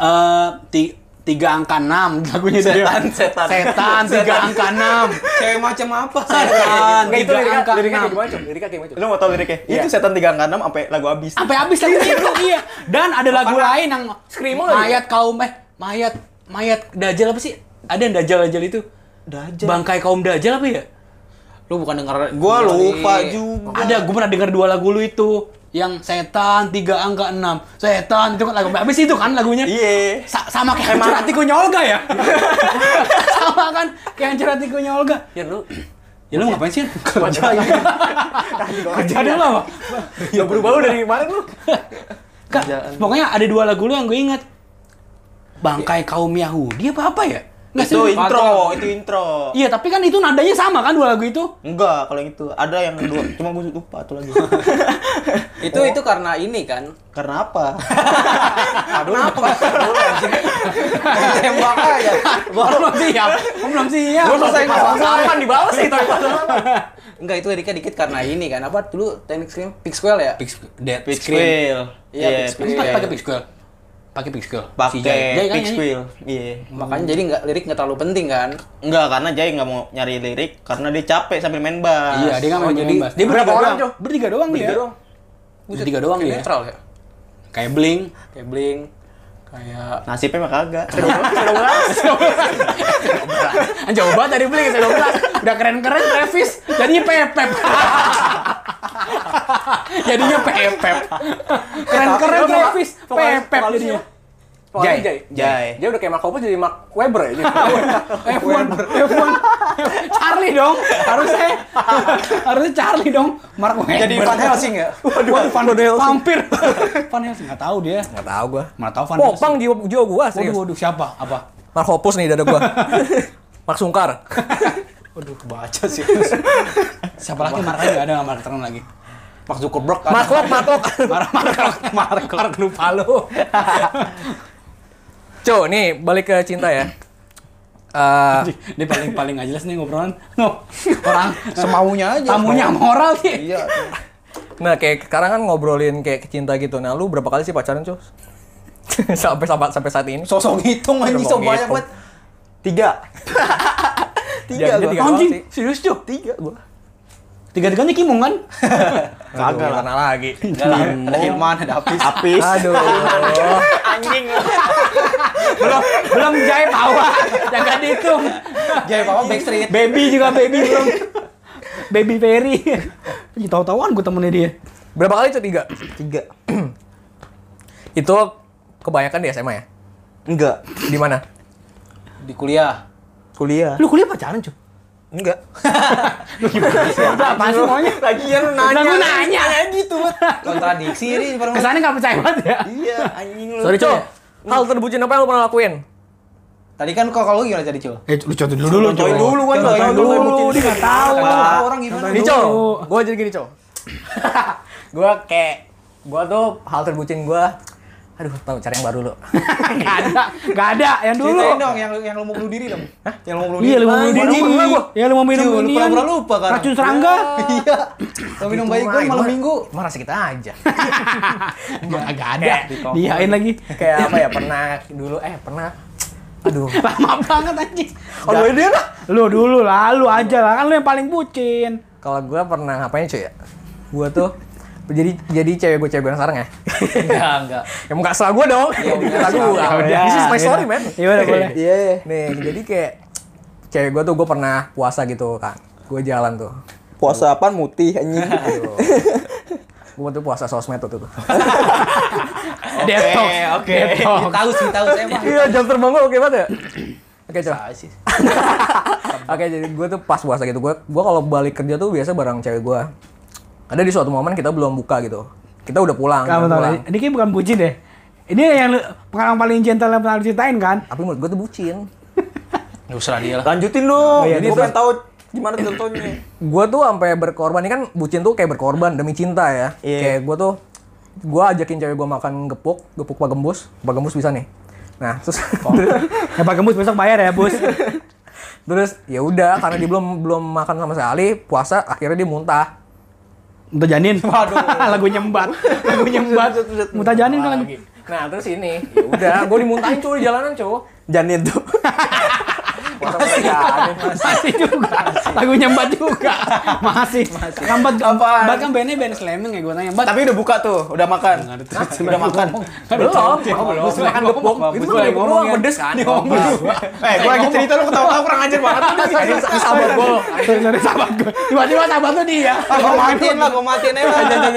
C: Eh, ti- tiga angka enam lagunya dia.
B: Setan, setan.
C: Setan, tiga angka enam.
B: Cewek macam apa?
C: Setan,
A: Enggak itu
C: tiga
A: liriknya,
C: angka
A: liriknya
C: enam.
A: kayak gimana, Cum? Liriknya kayak gimana, Cum?
D: Lu mau tau liriknya? Itu setan 3 angka 6 sampai lagu habis.
C: sampai habis lagu itu iya dan ada lagu lain yang
A: Screamo lagi.
C: mayat kaum eh mayat mayat dajal apa sih ada yang dajal dajal itu
D: Dajjal.
C: bangkai kaum dajal apa ya
B: Lu bukan denger
D: Gua
B: denger
D: lupa
B: nih.
D: juga.
C: ada gue pernah dengar dua lagu lu itu yang setan tiga angka enam setan itu kan lagu habis itu kan lagunya
D: Iya.
C: Sa- sama kayak hancur hatiku Olga ya sama kan kayak hancur hatiku Olga
A: Ya lu
C: ya lu ngapain sih kerja kerja dulu apa
A: udah berubah lu dari kemarin lu.
C: Kak, pokoknya ada dua lagu lu yang gue inget. Bangkai kaum Yahudi apa apa ya? Nggak
D: Itu
C: sih?
D: intro,
B: Patro.
D: itu intro.
C: Iya, tapi kan itu nadanya sama kan dua lagu itu?
D: Enggak, kalau yang itu ada yang dua, cuma gua lupa tuh lagi.
B: Itu itu karena ini kan.
D: Karena apa?
B: Aduh, kenapa? Tembak aja.
C: Baru belum siap. Gua belum siap.
B: Gua selesai ngomong.
A: Salaman dibales sih tapi
B: Enggak itu liriknya dikit karena ini kan. Apa dulu teknik scream Pixquel ya?
C: Pix, dead,
D: Big Squeal.
B: Iya,
D: Iya,
B: Big
D: Big
B: Squeal.
C: Ini
D: Squeal.
C: pakai Pix Girl. Pakai Pix Girl.
D: Pakai
C: Jai kan
D: Big
C: nyanyi.
D: Squeal. Iya.
B: Makanya jadi nggak lirik nggak terlalu penting kan.
D: Enggak, karena Jai nggak mau nyari lirik karena dia capek sambil main bass.
C: Iya, dia kan
B: Oh,
C: main
B: jadi-
C: bebas. Dia
A: berapa
C: bertiga
A: orang,
C: doang.
A: Jo?
C: Bertiga doang dia.
A: Bertiga doang.
C: Bertiga doang
B: Kayak
C: dia.
B: Netral ya.
C: Kayak Blink.
B: Kayak Blink. Kayak
D: Nasibnya mah kagak.
C: Ah, Jauh banget dari Blink, saya 12. Udah keren-keren Travis, jadinya Pepep. jadinya Pepep. Keren-keren
A: Tapi-
C: Travis,
A: vokalis-
C: Pepep
A: vokalis
C: jadinya.
A: siapa? Jai.
C: Jai.
D: Jai.
A: Dia udah kayak Mark Hoppus jadi Mark Weber ya. dia.
C: F1, F1. Charlie dong, harusnya. harusnya Charlie dong. Mark Webber.
B: jadi Van Helsing ya.
C: Waduh, Van Helsing. Vampir. Van Helsing, nggak tahu dia.
A: Enggak tahu gua.
C: Mana tahu Van Helsing.
A: Popang jiwa jiwa gua
C: Waduh,
A: serius.
C: waduh, siapa? Apa?
A: Mark Hoppus nih dada gua. Mark Sungkar.
C: Waduh, kebaca sih. siapa lagi? Mark lagi nggak ada nggak Mark Tern lagi.
B: Mark Zuckerberg kan.
A: Mark Lok, Mark Lok.
C: Mark, Mark, Mark, Mark, lupa lu.
A: Cuk, nih balik ke cinta ya. Eh,
C: Ini paling paling nggak jelas nih ngobrolan. No, orang
B: Semaunya aja.
C: tamunya moral sih.
B: Iya.
A: nah kayak sekarang kan ngobrolin kayak cinta gitu. Nah, lu berapa kali sih pacaran, Cuk? sampai sampai sampai saat ini.
B: Sosok ngitung anjing,
A: Udah
B: sok
A: mau
B: banyak
A: ngitung.
B: banget. Tiga. tiga
A: Jadinya
B: gua.
A: tiga doang
B: Anjing,
A: sih.
B: serius cuy. Tiga gua.
C: Tiga-tiganya kimung kan?
A: Aduh,
D: Kagak lah.
A: Gimana lagi?
B: Enggak lah, ada Hilman, ada Apis.
D: Apis.
A: Aduh.
D: Anjing.
C: belum belum jahit tawa. Jangan dihitung.
B: Jaya Papa Backstreet.
C: Baby juga baby belum. Baby Ferry. Ih, Tahu-tahuan gue temennya dia.
A: Berapa kali itu tiga?
D: Tiga.
A: Itu kebanyakan di SMA ya?
D: Enggak.
A: Di mana?
B: Di kuliah.
D: Kuliah.
C: Lu kuliah pacaran, cuy?
A: Enggak.
C: Apa sih maunya?
D: Lagian lu nanya.
C: Nah, gua nanya.
D: Kayak gitu, Mat.
B: Kontradiksi ini paling
C: Kesannya nggak percaya banget ya.
D: Iya, anjing lu.
A: Sorry, Cok. Iya. Hal terbucin apa yang lo pernah lakuin?
B: Tadi kan kok kalau lu gimana jadi, Cul?
C: Eh, lu contoh dulu dulu,
B: Gitu
D: Contohin dulu kan,
C: Contohin
D: contohin
C: dulu,
D: dulu,
C: dia nggak tahu.
B: Kagak tahu orang gimana.
A: Ini, Cok. Gue jadi gini, Cok. gue kayak... Gue tuh hal terbucin gue... Aduh, tau cari yang baru lo.
C: Nggak ada, nggak ada. Yang dulu.
B: Ceritain dong yang yang lu mau bunuh diri dong. Hah? Yang lu mau bunuh diri.
C: Iya, lu mau minum
B: Baru
C: ini.
B: pernah gua.
C: Iya, lu mau minum
B: Cil, lu
C: ini.
B: pura-pura lupa kan.
C: Racun serangga.
B: Iya. Lu minum baik
A: Gitu
B: gua malam minggu. Ya,
A: Marah kita aja.
C: Enggak ada.
A: Kayak-
C: Diain lagi.
A: kayak apa ya? Pernah dulu, eh pernah... Aduh.
C: Lama Ah, banget anjing.
B: Oh,
A: Kalau gue dia lah.
C: Lu dulu lah, lu aja lah. Kan lu yang paling bucin.
A: Kalau gue pernah ngapain cuy ya? Gue tuh jadi jadi cewek gue cewek gue yang sekarang ya?
B: Enggak, enggak.
A: ya enggak salah gue dong.
B: Ya udah,
A: Salah gue.
B: ya
C: udah.
A: This is my story,
C: Ya udah.
A: man.
C: Ya udah, boleh.
A: Iya. Nih, jadi kayak cewek gue tuh gue pernah puasa gitu kan. Gue jalan tuh.
D: Puasa apaan mutih anjing.
A: Gue tuh puasa sosmed tuh tuh.
C: Detox.
D: oke.
C: Detox.
B: Tahu sih, tahu saya mah.
A: Iya, jam terbang gue oke banget ya. Oke, coba.
B: Tahu sih.
A: Oke, jadi gue tuh pas puasa gitu. Gue gua kalau balik kerja tuh biasa bareng cewek gue. Ada di suatu momen kita belum buka gitu. Kita udah pulang.
C: Kamu
A: udah
C: tahu
A: pulang.
C: ini- ini kayak bukan bucin deh. Ini yang lu- pengalaman paling gentle yang pernah lu ceritain kan?
A: Tapi menurut gue tuh bucin.
B: Enggak usah dia lah.
D: Lanjutin dong.
A: Oh, iya,
D: Gua
A: terus.
D: pengen tahu gimana contohnya.
A: gue tuh sampai berkorban ini kan bucin tuh kayak berkorban demi cinta ya
D: Iya.
A: kayak gue tuh gue ajakin cewek gue makan gepuk gepuk pak gembus pak gembus bisa nih nah terus
C: Ya Pak Gembus besok bayar ya, Bus.
A: terus ya udah karena dia belum belum makan sama sekali puasa akhirnya dia muntah
C: Muta Janin.
B: Waduh.
C: Lagu nyembat. Lagu nyembat. Muta Janin kan lagi.
A: nah terus ini ya udah gue dimuntahin cuy di jalanan cuy
D: Janin tuh.
A: puasa sama jalan
C: Masih juga. Lagu nyembat juga. Masih. Nyembat
D: Apaan?
C: Bahkan bandnya band slamming ya gue nanya. Bat,
D: Tapi udah buka tuh, udah makan. Udah makan.
A: belum belum
B: Bagus,
A: makan
B: ngomong,
A: gepuk
B: bagus.
A: itu
B: Gua
A: kan
B: lagi
A: gepuk
B: ngomong
A: doang
B: ya.
A: pedes kan
D: Eh, gua lagi cerita lu ketawa-ketawa kurang ajar banget.
C: Iya,
A: sabar gue
C: sorry, sorry, sahabat gue. Tiba-tiba sahabat tuh dia.
B: Ah, gua matiin lah, gua matiin aja. lah.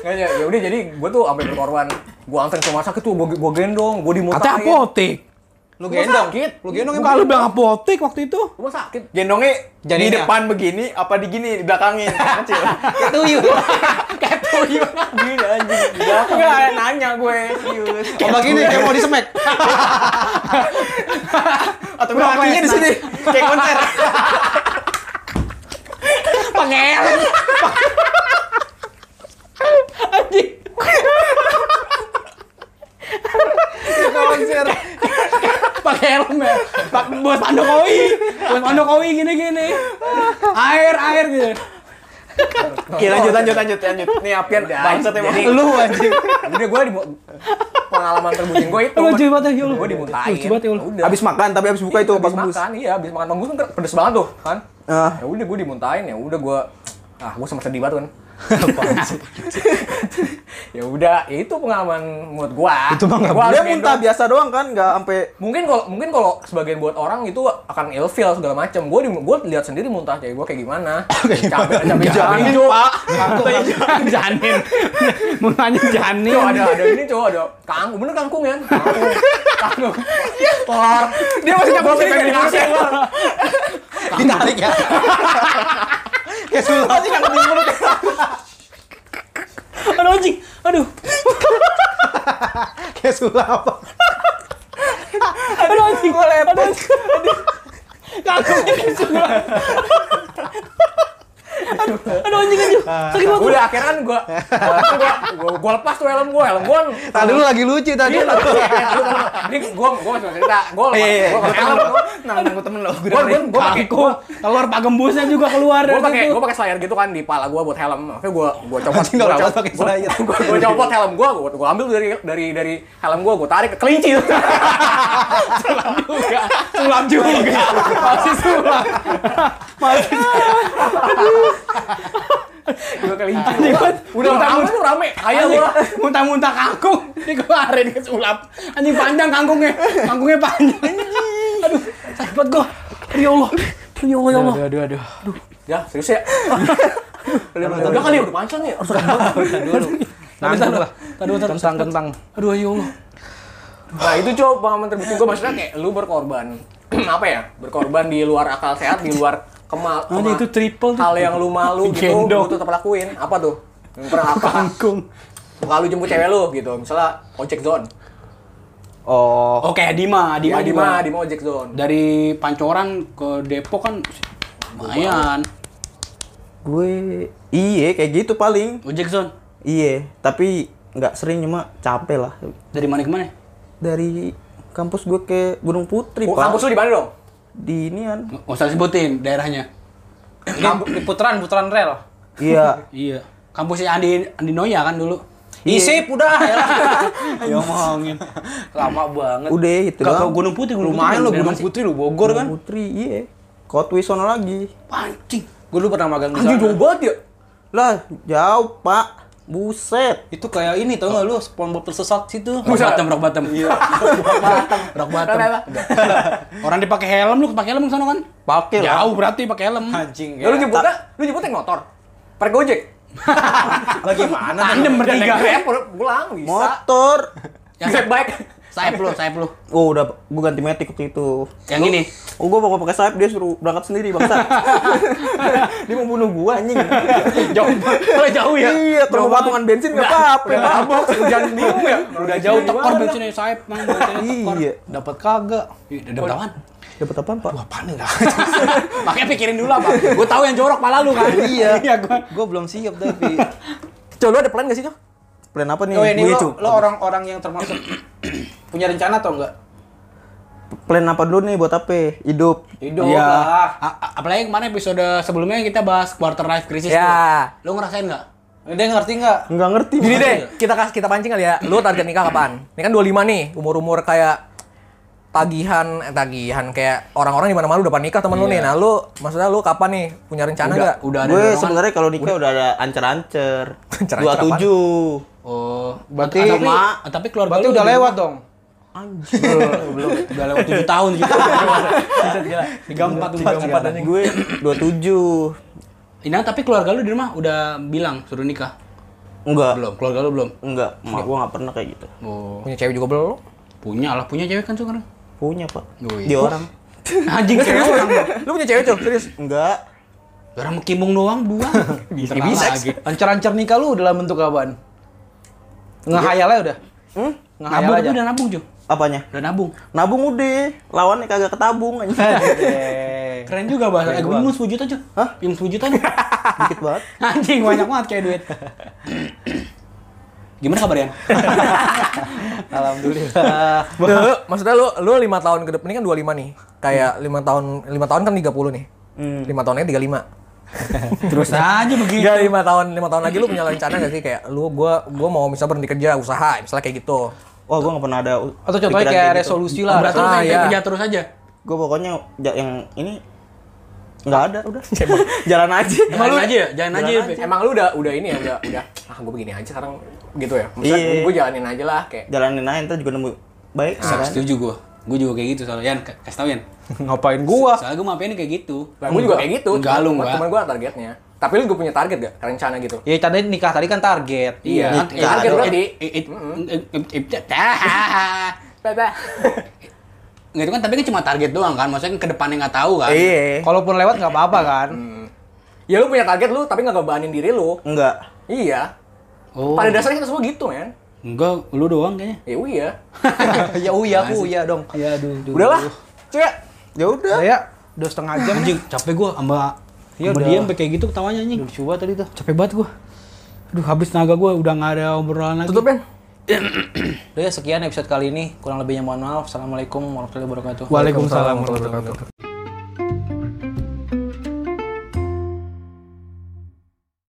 A: Nggak, ya ya udah jadi gue tuh sampai berkorban gue anterin ke rumah sakit tuh gue gendong gue dimuntahin
C: Katanya apotek.
B: Lu gendong.
A: sakit.
B: Lu gendong
C: Bukan lu bilang apotek waktu itu.
A: rumah sakit
D: Gendongnya di
B: Janinnya.
D: depan begini apa di gini di belakangin kecil.
B: kayak tuyul. Kayak tuyul.
D: Gini anjing.
B: Enggak nanya gue serius. Kalau gini kayak mau disemek.
D: Atau gua kakinya di sini kayak konser.
C: Pangeran. Anjing.
A: Iya,
B: Konser.
C: pakai helm ya pak bos Pak Jokowi bos Pak Jokowi gini gini air air gitu
D: Oke, lanjut lanjut lanjut lanjut. Nih apian bangsat emang.
A: lu anjing udah gue di pengalaman terbucin gue itu
C: lucu banget ya lu
A: gue dimuntahin
C: lucu banget ya lu
A: udah
D: Habis makan tapi habis buka itu
A: abis
D: Pak Gembus.
A: makan iya abis makan bangku kan pedes banget tuh kan
D: Ah.
A: ya udah gue dimuntahin ya udah gue ah gue sempat sedih banget kan ya udah ya itu pengalaman menurut gue itu
D: Dia muntah biasa doang kan, nggak sampai
A: mungkin kalau mungkin kalau sebagian buat orang itu akan ilfeel segala macam gue gue lihat sendiri muntah kayak gue kayak gimana capek capek jalan
D: janin,
A: Jo.
D: Pak.
C: janin mulanya janin
A: Jo, ada ada ini cowok ada kangkung bener kangkung kan kangkung kangkung telur dia masih nyambung sini kan dikasih
B: Ditarik ya. Kayak sulap sih kan di mulut.
C: aduh anjing aduh
B: Kayak sulap.
C: aduh anjing gue lepet aduh kagumnya kesuruhan aduh, Ah. aduh anjing anjing. Sakit banget.
A: Udah akhirnya kan gua kan gua, gua gua lepas tuh helm gua, helm gua.
B: Tadi lu lagi lucu tadi.
A: Iya, tapi- Ini gua gua masih cerita. Gua lepas
D: Iya, iya,
A: gua pakai helm.
D: Nang nang temen lo.
A: Gua gua gua pakai
C: Kangkung. Keluar pak gembusnya juga keluar
A: gua
C: dari
A: pakai
C: situ.
A: gua pakai slayer gitu kan di pala gua buat helm. Makanya gua gua copot.
B: Anjing, nggak
A: gua
B: copot pakai slayer.
A: Gua, gua copot helm gua, gua, gua ambil dari dari dari helm gua, gua tarik ke kelinci.
C: Sulam juga. Sulam juga. Masih sulam. Masih
A: Gua kelinci.
C: Anjing,
A: Gua-
C: gua-
A: Udah
C: gua
A: rame
C: tahu.
A: tuh rame. Ayo
C: Ayah
A: gua.
C: gua muntah-muntah kangkung dikeluarin ke sulap. Anjing panjang kangkungnya. Kangkungnya panjang. Aduh, sakit banget gua. Ya Allah. Ya Allah, ya Allah.
B: Aduh aduh.
A: Ya, serius ya. Udah udah kali udah panjang ya.
B: Nah,
C: Tadi
B: lah.
C: Tadi
B: Kentang kentang.
C: Aduh, ya Allah.
A: Nah itu coba pengalaman terpenting gue maksudnya kayak lu berkorban apa ya berkorban di luar akal sehat di luar kemal
C: Ah, ini itu triple tuh.
A: hal yang lu malu gitu
C: Gendong.
A: lu tetap lakuin apa tuh yang pernah apa
C: Kangkung.
A: Bukan lu jemput cewek lu gitu misalnya ojek zone
B: Oh.
C: Oke, Dima,
A: di
C: Dima,
A: mana di
C: Dima.
A: mana di ojek zone
C: Dari Pancoran ke Depok kan lumayan.
D: Gue iye kayak gitu paling.
C: Ojek zone.
D: Iye, tapi nggak sering cuma capek lah.
C: Dari mana ke mana?
D: Dari kampus gue ke Gunung Putri,
A: Oh,
D: Pak.
A: kampus lu di mana dong
D: Di inian.
C: Nggak usah sebutin daerahnya.
B: Di putaran putaran rel.
D: Iya.
C: Iya. Kampusnya Andi Andi Noya kan dulu.
A: Iya.
B: Isip udah. ya.
C: Ya ngomongin.
B: Lama banget.
D: Udah itu
C: Ke ke
D: doang.
C: Gunung Putih, Gunung
B: Lumayan
C: Putih. kan?
B: lo
C: Dari
B: Gunung
C: mana sih?
B: Putri lu Bogor kan.
D: Putri, iye. Kotwi sono lagi.
C: Pancing.
B: Gue dulu pernah magang di
A: anjing
B: sana.
A: jauh banget ya
D: Lah, jauh, Pak. Buset.
B: Itu kayak ini tau gak lu SpongeBob tersesat situ.
C: Rock bottom, rock bottom. Iya. rock bottom.
A: Kenapa?
C: Orang dipakai helm lu pakai helm ke sana kan?
D: Pakai lah.
C: Jauh berarti pakai helm.
B: Anjing
A: Ya, lu jemputnya lu jemputnya naik motor pakai gojek
B: Bagaimana?
C: Tandem bertiga.
A: Naik Grab, pulang bisa
D: Motor.
C: Yang
A: bisa baik
C: sayap lu, sayap lu.
D: Oh, udah gue ganti metik waktu itu.
C: Yang ini.
D: Oh, gue bakal pakai sayap dia suruh berangkat sendiri, bangsa. dia mau bunuh gua anjing.
C: Jauh. Kalau jauh ya.
D: iya, terlalu patungan bensin enggak apa-apa, Pak.
A: mabok hujan bingung ya
C: Udah jauh tekor bensinnya sayap, mang bensinnya tekor.
D: Iya.
B: Dapat kagak?
C: Ih, Udah dapat apaan?
D: Dapat apaan, Pak?
B: Apa nih
C: Makanya pikirin dulu apa. Gue tahu yang jorok pala lu kan.
B: Iya.
C: Iya gua.
B: Gue belum siap tapi.
A: coba lu ada plan gak sih cok
D: Plan apa nih?
B: Oh ini
D: Gue,
B: lo,
D: Cuk.
B: lo orang-orang yang termasuk punya rencana atau enggak?
D: Plan apa dulu nih buat apa? Hidup.
B: Hidup
C: Iya.
B: lah.
C: A- a- Apalagi kemarin episode sebelumnya kita bahas quarter life crisis
A: Ya.
C: tuh. Lu ngerasain nggak?
B: Dia ngerti nggak?
D: Enggak ngerti.
A: Gini
D: Pak.
A: deh, kita kas kita pancing kali ya. Lu target nikah kapan? Ini kan 25 nih, umur-umur kayak tagihan, eh, tagihan kayak orang-orang di mana-mana udah pada nikah temen lu nih. Nah, lu maksudnya lu kapan nih punya rencana
C: Iya. Udah,
A: nggak?
C: udah ada
D: gue
C: dorongan?
D: sebenarnya kalau nikah udah ada ancer-ancer.
A: Ancer-ancer
D: 27.
C: Oh,
B: Berarti-
C: berarti tapi, tapi keluarga
B: Berarti
C: lu
B: udah lewat dong.
C: udah lewat 7 tahun gitu. Gila. 34
D: Empat, empat aja gue 27.
C: Ina tapi keluarga lu di rumah udah bilang suruh nikah.
D: Enggak.
C: Belum, keluarga lu belum.
D: Enggak, emak gue nggak pernah kayak gitu.
C: Oh,
A: Punya cewek juga belum?
C: punya lah, punya cewek kan sekarang.
D: Punya, Pak.
C: Oh, iya.
D: Dia orang.
C: Anjing serius orang.
A: Lu punya cewek, Cok? Serius?
D: Enggak.
C: Orang kimbung doang dua. Bisa
B: Bisa. Ancar-ancar nikah lu dalam bentuk apaan? Ngehayal aja udah.
D: Hmm?
B: Ngehayal Iya.
C: Nabung
B: aja.
C: tapi udah nabung, Ju.
D: Apanya?
C: Udah nabung.
D: Nabung udah, lawannya kagak ketabung anjing.
B: Eh,
C: Keren juga bahasa. Eh, gue minum 10 juta, Ju.
D: Hah?
C: Minum 10 juta nih.
D: Dikit banget.
C: Anjing banyak banget kayak duit. Gimana kabarnya?
B: Alhamdulillah.
A: Lu, maksudnya lu lu 5 tahun ke depan ini kan 25 nih.
C: Hmm.
A: Kayak 5 tahun 5 tahun kan 30 nih. 5 tahunnya 35.
C: Terus aja begitu.
A: Enggak, 5 tahun 5 tahun lagi lu punya rencana gak sih kayak lu gua gua mau misal berhenti kerja, usaha, misalnya kayak gitu.
D: Wah, gue nggak pernah ada u-
B: Atau contohnya
D: pikiran
B: kayak
D: gitu.
B: resolusi
C: Oh,
B: lah.
C: berarti lu
A: Ah,
C: pengen
A: iya.
C: kerja terus aja.
D: Gue pokoknya ja- yang ini nggak ada udah. Jalan aja.
C: Jangan aja ya, jangan aja. ya, Fe.
A: Emang lu udah udah ini ya udah udah ah gue begini aja sekarang gitu ya. Maksudnya
D: Iya.
A: gue jalanin aja lah kayak
D: Jalanin aja ntar juga nemu baik
C: Sa-
D: kan.
C: Setuju gua. Gua juga kayak gitu soalnya. Yan, k- kasih tau Yan.
B: Ngapain gua?
C: Soalnya gua mampirnya kayak gitu.
A: Nah, gue juga kayak gitu.
C: Enggak lu
A: Cuman-
C: enggak.
A: Cuman gue targetnya. Tapi lu gue punya target gak? Rencana gitu. Nah,
B: Ya tadi nikah tadi kan target.
C: Iya, kan?
D: Iya, target
C: Iya,
A: berarti.
C: it- it- it- it- it- ah. Nggak, itu kan tapi kan cuma target doang kan. Maksudnya ke depannya nggak tahu kan.
D: Iya.
B: Kalaupun lewat nggak apa-apa kan.
A: ya lu punya target lu tapi gak ngebebanin diri lu.
D: Enggak.
A: Iya.
C: Oh.
A: Pada dasarnya kita semua gitu, men.
C: Enggak, lu doang kayaknya.
A: Ya iya.
B: ya uya aku uya dong.
C: Iya, aduh.
A: Udahlah. Cuy.
D: Ya udah.
B: Saya udah setengah jam.
C: Anjing, capek gua sama
B: Iya, udah.
C: Berdiam kayak gitu ketawanya anjing.
B: Udah dicoba tadi tuh.
C: Capek banget gua. Aduh, habis tenaga gua udah nggak ada obrolan lagi.
A: Tutup, Ben.
B: Udah ya sekian episode kali ini. Kurang lebihnya mohon maaf. Assalamualaikum warahmatullahi wabarakatuh.
C: Waalaikumsalam warahmatullahi wabarakatuh.
A: wabarakatuh.